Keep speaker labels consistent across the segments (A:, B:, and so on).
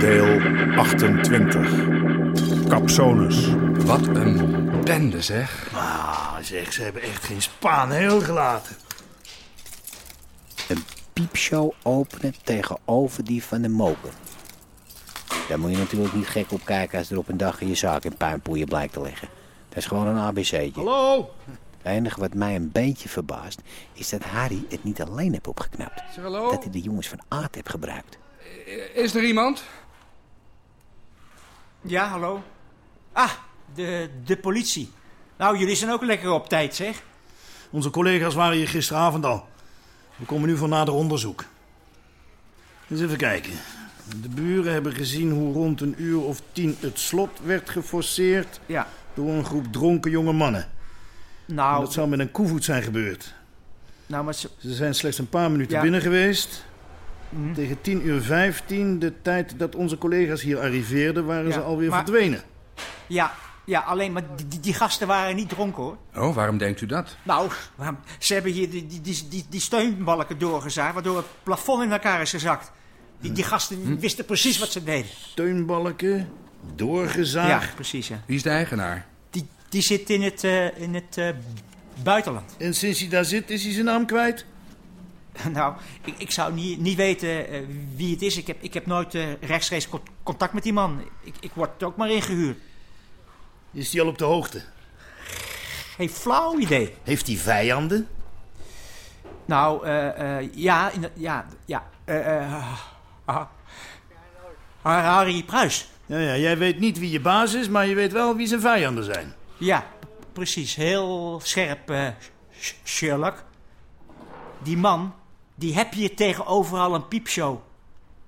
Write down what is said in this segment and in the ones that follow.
A: Deel 28. Capsonus.
B: Wat een bende, zeg.
C: Ah, zeg, ze hebben echt geen spaan heel gelaten.
D: een piepshow openen tegenover die van de moker. Daar moet je natuurlijk niet gek op kijken als er op een dag in je zaak een puinpoeier blijkt te liggen. Dat is gewoon een ABC'tje. Hallo! Het enige wat mij een beetje verbaast is dat Harry het niet alleen heeft opgeknapt.
B: hallo?
D: Dat hij de jongens van Aard heeft gebruikt.
B: Is er iemand?
E: Ja, hallo. Ah, de, de politie. Nou, jullie zijn ook lekker op tijd, zeg.
C: Onze collega's waren hier gisteravond al. We komen nu voor nader onderzoek. Eens even kijken. De buren hebben gezien hoe rond een uur of tien het slot werd geforceerd
E: Ja.
C: door een groep dronken jonge mannen. En
E: Nou,
C: dat zou met een koevoet zijn gebeurd.
E: nou maar ze-
C: Ze zijn slechts een paar minuten
E: Ja. Mhm.
C: binnen geweest. Tegen tien uur vijftien, de tijd dat onze collega's hier arriveerden, waren
E: Ja,
C: ze alweer
E: maar-
C: verdwenen.
E: ja, ja, alleen maar die, die- die gasten waren niet dronken, hoor.
B: Oh, waarom denkt u dat?
E: Nou, waarom- ze hebben hier die, die, die, die, die steunbalken doorgezaaid, waardoor het plafond in elkaar is gezakt. Die, die gasten wisten precies wat ze deden.
C: Steunbalken, doorgezaagd.
E: Ja, precies, ja.
B: Wie is de eigenaar?
E: Die, die zit in het, eh, in het eh, buitenland.
C: En sinds hij daar zit, is hij zijn naam kwijt.
E: nou, ik, ik zou niet, niet weten eh, wie het is. Ik heb, ik heb nooit eh, rechtstreeks con- contact met die man. Ik, ik word ook maar ingehuurd.
C: Is hij al op de hoogte?
E: Geen flauw idee.
C: Heeft hij vijanden?
E: Nou, eh, eh, ja, in, ja, ja. eh, eh, ah. Ah, Harry Pruis.
C: Ja, ja, jij weet niet wie je baas is, maar je weet wel wie zijn vijanden zijn.
E: Ja, p- precies. Heel scherp, eh, Sh- Sherlock. Die man, die heb je tegenover al een piepshow.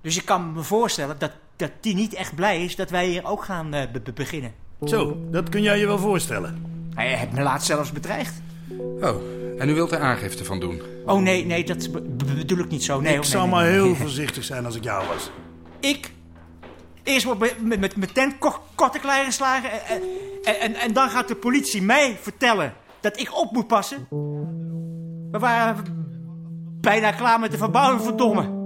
E: Dus ik kan me voorstellen dat, dat die niet echt blij is dat wij hier ook gaan eh, be- be- beginnen.
C: Zo, dat kun jij je wel voorstellen.
E: Hij heeft me laatst zelfs bedreigd.
B: Oh, en u wilt er aangifte van doen?
E: Oh nee, nee, dat be- be- bedoel ik niet zo. Nee,
C: ik
E: oh, nee,
C: zou
E: nee,
C: maar
E: nee.
C: heel voorzichtig zijn als ik jou was.
E: Ik? Eerst word ik met, met, met tent ko- korte klei geslagen. En, en, en, en dan gaat de politie mij vertellen dat ik op moet passen. We waren bijna klaar met de verbouwing, verdomme.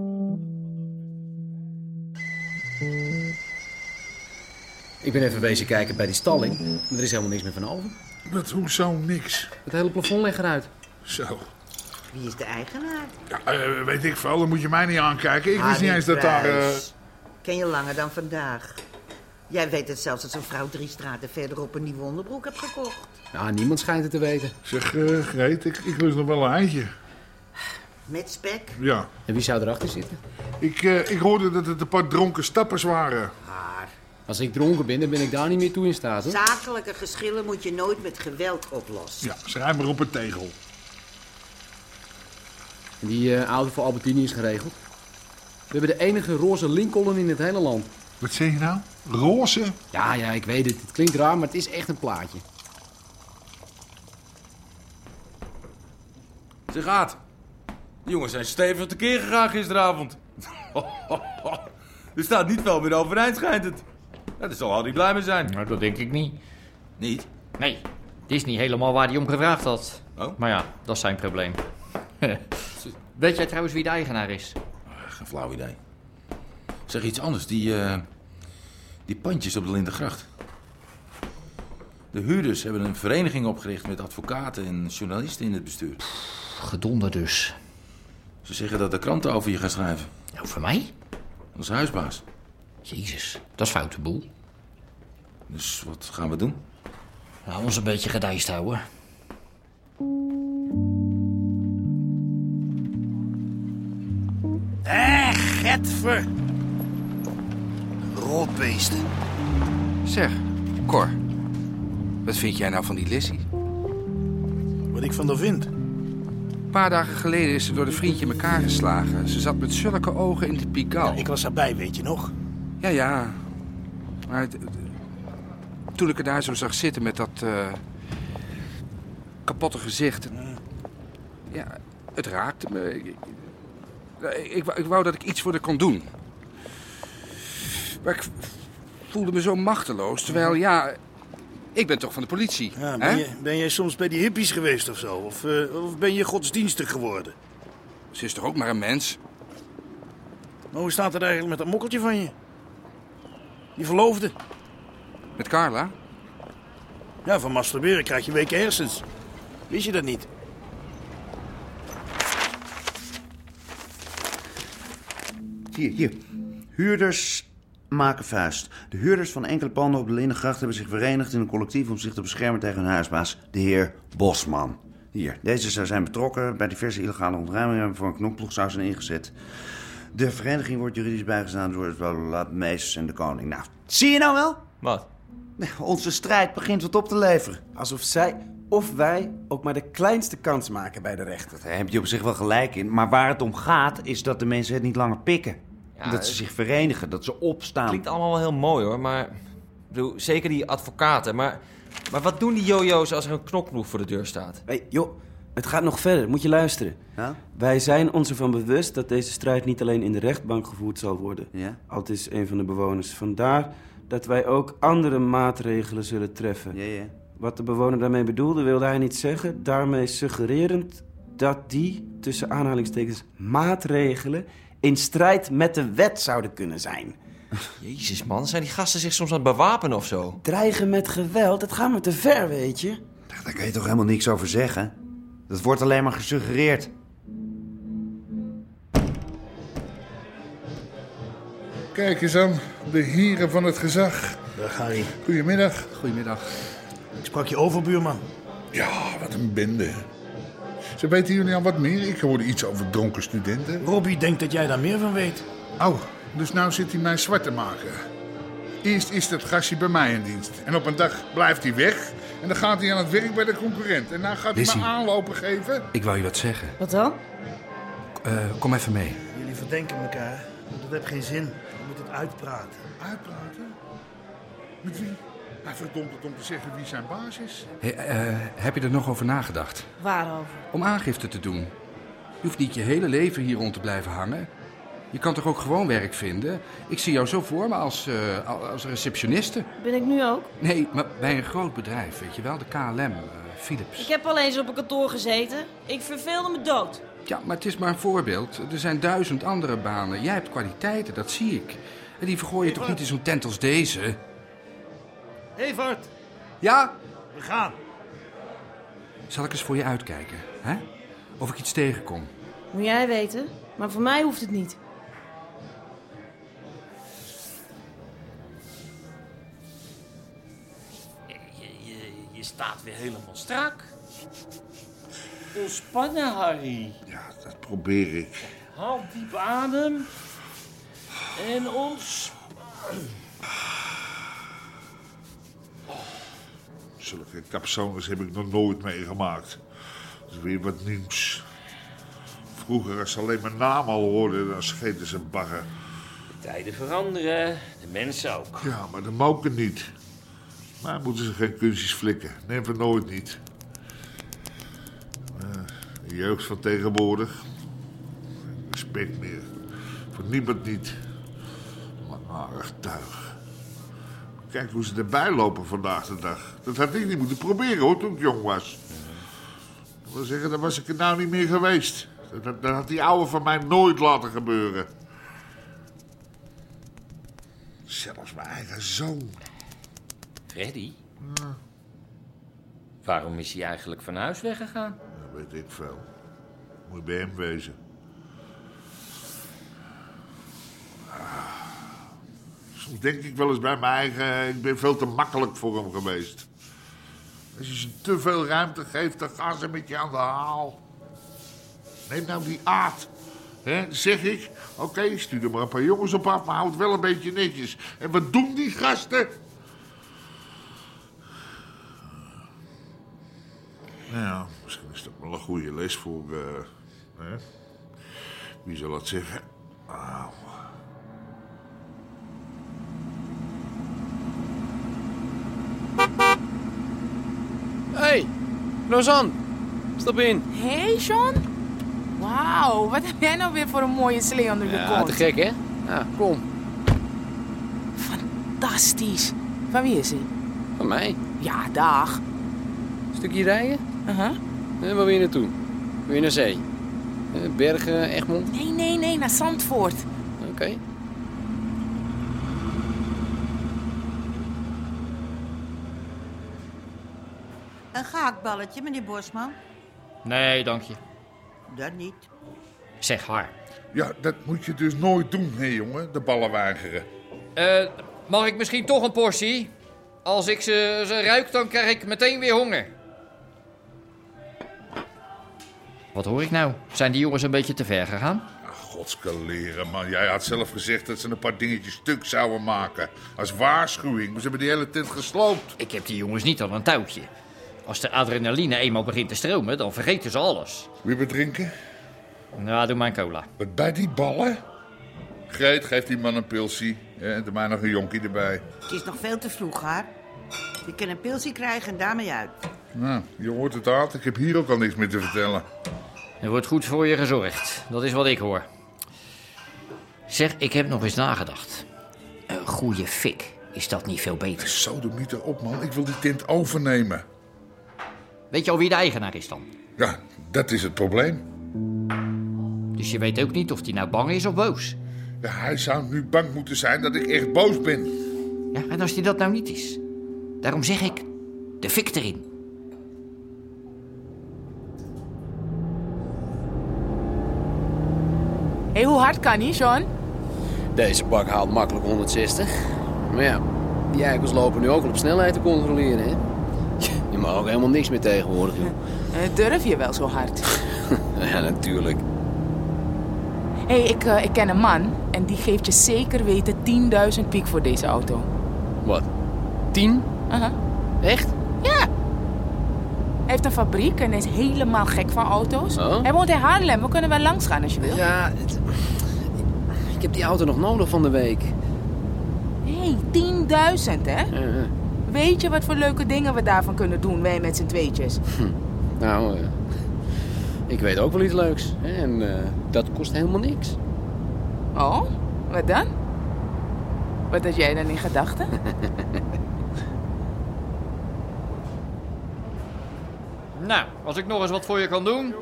F: Ik ben even bezig kijken bij die stalling. maar Er is helemaal niks meer van over.
G: Wat, hoezo niks?
F: Het hele plafond ligt eruit.
G: Zo.
H: Wie is de eigenaar?
G: Ja, eh, weet ik veel, dan moet je mij niet aankijken. Ik wist niet eens dat daar... eh,
H: Harry Pruis. Ken je langer dan vandaag. Jij weet het zelfs dat zo'n vrouw drie straten verderop een nieuwe onderbroek heeft gekocht.
F: Ja, Nou, niemand schijnt het te weten.
G: zeg, eh Greet, ik, ik lust nog wel een eindje.
H: Met spek.
G: Ja.
F: En wie zou erachter zitten?
G: Ik, eh, ik hoorde dat het een paar dronken stappers waren.
H: Maar
F: Als ik dronken ben, dan ben ik daar niet meer toe in staat. Hoor.
H: zakelijke geschillen moet je nooit met geweld oplossen.
G: Ja, schrijf maar op een tegel.
F: En Die eh, auto voor Albertini is geregeld. We hebben de enige roze Lincoln in het hele land.
G: Wat zeg je nou? Roze?
F: Ja, ja, ik weet het. Het klinkt raar, maar het is echt een plaatje.
I: Ze gaat. Die jongens zijn stevig tekeer gegaan gisteravond. er staat niet veel meer overeind, schijnt het. Dat zal Harry blij mee zijn.
J: Nou, dat denk ik niet.
I: Niet?
J: Nee, het is niet helemaal waar hij om gevraagd had.
I: Oh?
J: Maar ja, dat is zijn probleem. Weet jij trouwens wie de eigenaar is?
I: Geen flauw idee. Zeg iets anders. Die, eh, die pandjes op de Lindengracht. De huurders hebben een vereniging opgericht met advocaten en journalisten in het bestuur.
J: Gedonder dus.
I: Ze zeggen dat de kranten over je gaan schrijven.
J: Over mij?
I: Als huisbaas.
J: Jezus, dat is foute boel.
I: Dus wat gaan we doen?
J: Laten we ons een beetje gedijst houden.
C: Getver! Rotbeesten.
B: Zeg, Cor. Wat vind jij nou van die Lissy?
C: Wat ik van haar vind.
B: Een paar dagen geleden is ze door een vriendje in elkaar geslagen. Ze zat met zulke ogen in de pigaal.
C: Ik was daarbij, weet je nog?
B: Ja, ja. Maar het- het- toen ik haar daar zo zag zitten met dat eh, kapotte gezicht. het- Ja, het raakte me. Ik, ik, ik wou- ik wou dat ik iets voor haar kon doen. Maar ik voelde me zo machteloos. Terwijl, ja, ik ben toch van de politie.
C: Ja,
B: hè?
C: ben, je, ben jij soms bij die hippies geweest of zo? Of, eh, of ben je godsdienstig geworden?
B: Ze is toch ook maar een mens?
C: Maar hoe staat het eigenlijk met dat mokkeltje van je? Die verloofde?
B: Met Carla?
C: Ja, van masturberen krijg je weken hersens. Wist je dat niet?
K: Hier, hier. Huurders maken vuist. De huurders van enkele panden op de Lindengracht hebben zich verenigd in een collectief om zich te beschermen tegen hun huisbaas, de heer Bosman. Hier, deze zou zijn betrokken bij diverse illegale ontruimingen en voor een knopploeg zou zijn ingezet. De vereniging wordt juridisch bijgestaan door het Laat Mees en de Koning. Nou, zie je nou wel?
L: Wat?
K: Onze strijd begint wat op te leveren.
M: Alsof zij of wij ook maar de kleinste kans maken bij de rechter.
K: Daar heb je op zich wel gelijk in. Maar waar het om gaat, is dat de mensen het niet langer pikken. dat ze
L: het-
K: zich verenigen, dat ze opstaan.
L: Klinkt allemaal wel heel mooi hoor, maar... Ik bedoel, zeker die advocaten, maar... Maar wat doen die jojo's als er een knokploeg voor de deur staat?
M: Hé, joh, het gaat nog verder. Moet je luisteren. Wij zijn ons ervan bewust dat deze strijd niet alleen in de rechtbank gevoerd zal worden.
K: Ja?
M: Al het is een van de bewoners. Vandaar dat wij ook andere maatregelen zullen treffen. Wat de bewoner daarmee bedoelde, wilde hij niet zeggen. Daarmee suggererend dat die, tussen aanhalingstekens, maatregelen... in strijd met de wet zouden kunnen zijn.
L: Jezus man, zijn die gasten zich soms aan het bewapenen of zo?
M: Dreigen met geweld, dat gaat me te ver, weet je.
K: Daar kan je toch helemaal niks over zeggen? Dat wordt alleen maar gesuggereerd.
G: Kijk eens aan, de heren van het gezag.
C: Dag Harry.
G: Goedemiddag.
B: Goedemiddag.
C: Ik sprak je overbuurman.
G: Ja, wat een bende. Ze weten jullie al wat meer? Ik hoorde iets over dronken studenten.
C: Robbie denkt dat jij daar meer van weet.
G: Oh, dus nou zit hij mij zwart te maken. Eerst is dat gastje bij mij in dienst. En op een dag blijft hij weg. En dan gaat hij aan het werk bij de concurrent. En dan gaat hij
B: Lizzie.
G: me aanlopen geven.
B: Ik wou je wat zeggen.
N: Wat dan?
B: Eh, kom even mee.
C: Jullie verdenken elkaar. Dat heeft geen zin. Je moet het uitpraten.
G: Uitpraten? Met wie? Hij verdomt het om te zeggen wie zijn baas is.
B: Hey, eh, heb je er nog over nagedacht?
N: Waarover?
B: Om aangifte te doen. Je hoeft niet je hele leven hier rond te blijven hangen. Je kan toch ook gewoon werk vinden? Ik zie jou zo voor me als, eh, als receptioniste.
N: Ben ik nu ook?
B: Nee, maar bij een groot bedrijf, weet je wel? De KLM, eh, Philips.
N: Ik heb al eens op een kantoor gezeten. Ik verveelde me dood.
B: Ja, maar het is maar een voorbeeld. Er zijn duizend andere banen. Jij hebt kwaliteiten, dat zie ik. En die vergooi je toch niet in zo'n tent als deze?
C: Evert,
B: Ja?
C: we gaan.
B: Zal ik eens voor je uitkijken, hè? Of ik iets tegenkom.
N: Moet jij weten, maar voor mij hoeft het niet.
O: Je, je, je staat weer helemaal strak. Ontspannen, Harry.
G: Dat probeer ik.
O: Haal diep adem. En ontspan.
G: Zulke capsones heb ik nog nooit meegemaakt. Dat is weer wat nieuws. Vroeger, als ze alleen mijn naam al hoorden, dan scheten ze bagger.
O: Tijden veranderen, de mensen ook.
G: Ja, maar de moken niet. Maar moeten ze geen kunstjes flikken. Neem van nooit niet. Eh, de jeugd van tegenwoordig. Respect meer. Voor niemand niet. Langarig tuig. Kijk hoe ze erbij lopen vandaag de dag. Dat had ik niet moeten proberen hoor, toen ik jong was. Dat wil zeggen, dan was ik er nou niet meer geweest. Dat, dat, dat had die ouwe van mij nooit laten gebeuren. Zelfs mijn eigen zoon.
O: Freddy? Waarom is hij eigenlijk van huis weggegaan?
G: Dat Nou, weet ik veel. Moet je bij hem wezen. Ah. Soms denk ik wel eens bij mijn eigen... eh, Ik ben veel te makkelijk voor hem geweest. Als je ze te veel ruimte geeft, dan gaan ze met je aan de haal. Neem nou die aard. Hè, zeg ik, oké, stuur er maar een paar jongens op af, maar houd wel een beetje netjes. En wat doen die gasten? Nou
P: misschien is dat wel een goede les voor. eh, hè? Wie zal dat zeggen? Au.
Q: Hey, Rosanne, stap in.
R: Hey, Sean. Wauw, wat heb jij nou weer voor een mooie slee onder je
Q: Ja,
R: kont?
Q: te gek hè? Ja, kom.
R: Fantastisch. Van wie is hij?
Q: Van mij.
R: Ja, dag.
Q: Stukje rijden?
R: Uh-huh.
Q: En waar wil je naartoe? Wil je naar zee? Eh, Bergen, Egmond?
R: Nee, nee, nee, naar Zandvoort.
Q: Oké.
H: Een gaakballetje, meneer Bosman?
J: Nee, dank je.
H: Dat niet.
J: Zeg haar.
G: Ja, dat moet je dus nooit doen, hè, jongen. De ballen weigeren.
J: Eh, mag ik misschien toch een portie? Als ik ze, ze ruik, dan krijg ik meteen weer honger. Wat hoor ik nou? Zijn die jongens een beetje te ver gegaan?
G: Godskaleren, man. Jij had zelf gezegd dat ze een paar dingetjes stuk zouden maken. Als waarschuwing. Maar ze hebben die hele tent gesloopt.
J: Ik heb die jongens niet aan een touwtje. Als de adrenaline eenmaal begint te stromen, dan vergeten ze alles.
G: Wie bedrinken?
J: Nou, doe maar een cola.
G: Wat bij die ballen? Greet, geef die man een pilsie. Ja, en doe mij nog een jonkie erbij.
H: Het is nog veel te vroeg, haar. Je kan een pilsie krijgen en daarmee uit.
G: Nou, je hoort het aan. Ik heb hier ook al niks meer te vertellen.
J: Er wordt goed voor je gezorgd. Dat is wat ik hoor. Zeg, ik heb nog eens nagedacht. Een goede fik. Is dat niet veel beter?
G: Zo, doe niet erop, man. Ik wil die tent overnemen.
J: Weet je al wie de eigenaar is dan?
G: Ja, dat is het probleem.
J: Dus je weet ook niet of die nou bang is of boos.
G: Ja, hij zou nu bang moeten zijn dat ik echt boos ben.
J: Ja, en als die dat nou niet is? Daarom zeg ik, de fik erin.
R: Hé, hoe hard kan hij, Sean?
Q: Deze bak haalt makkelijk 160. Maar ja, die eikels lopen nu ook al op snelheid te controleren, hè? Je mag ook helemaal niks meer tegenwoordig, joh.
R: Eh, durf je wel zo hard?
Q: Ja, natuurlijk.
R: Hé, ik, eh, ik ken een man en die geeft je zeker weten 10.000 piek voor deze auto.
Q: Wat? Tien?
R: Aha.
Q: Echt?
R: Ja. Hij heeft een fabriek en is helemaal gek van auto's.
Q: Oh.
R: Hij woont in Haarlem, we kunnen wel langs gaan als je wil.
Q: Ja, Ik heb die auto nog nodig van de week.
R: Hé, 10.000 hè? Weet je wat voor leuke dingen we daarvan kunnen doen, wij met z'n tweetjes?
Q: Hm. Nou, eh, ik weet ook wel iets leuks. hè, En eh, dat kost helemaal niks.
R: Oh, wat dan? Wat had jij dan in gedachten?
J: Nou, als ik nog eens wat voor je kan doen.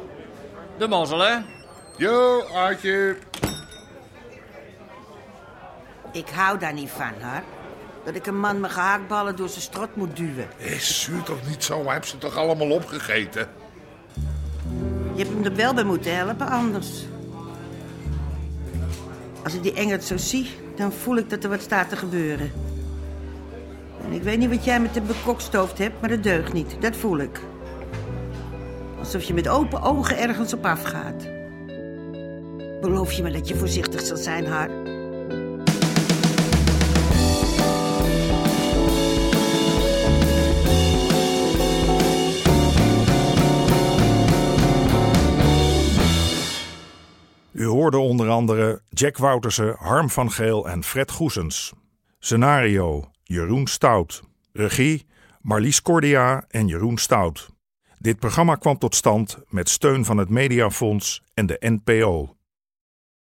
J: De mazzel, hè?
G: Yo, Aartje.
H: Ik hou daar niet van, haar. Dat ik een man mijn gehaakballen door zijn strot moet duwen.
G: Hé, zuur toch niet zo? Hij heeft ze toch allemaal opgegeten?
H: Je hebt hem er wel bij moeten helpen, anders. Als ik die Engert zo zie, dan voel ik dat er wat staat te gebeuren. En ik weet niet wat jij met de bekokstoofd hebt, maar dat deugt niet. Dat voel ik. Alsof je met open ogen ergens op afgaat. Beloof je me dat je voorzichtig zal zijn, haar?
A: U hoorde onder andere Jack Woutersen, Harm van Geel en Fred Goesens. Scenario: Jeroen Stout. Regie: Marlies Cordia en Jeroen Stout. Dit programma kwam tot stand met steun van het Mediafonds en de NPO.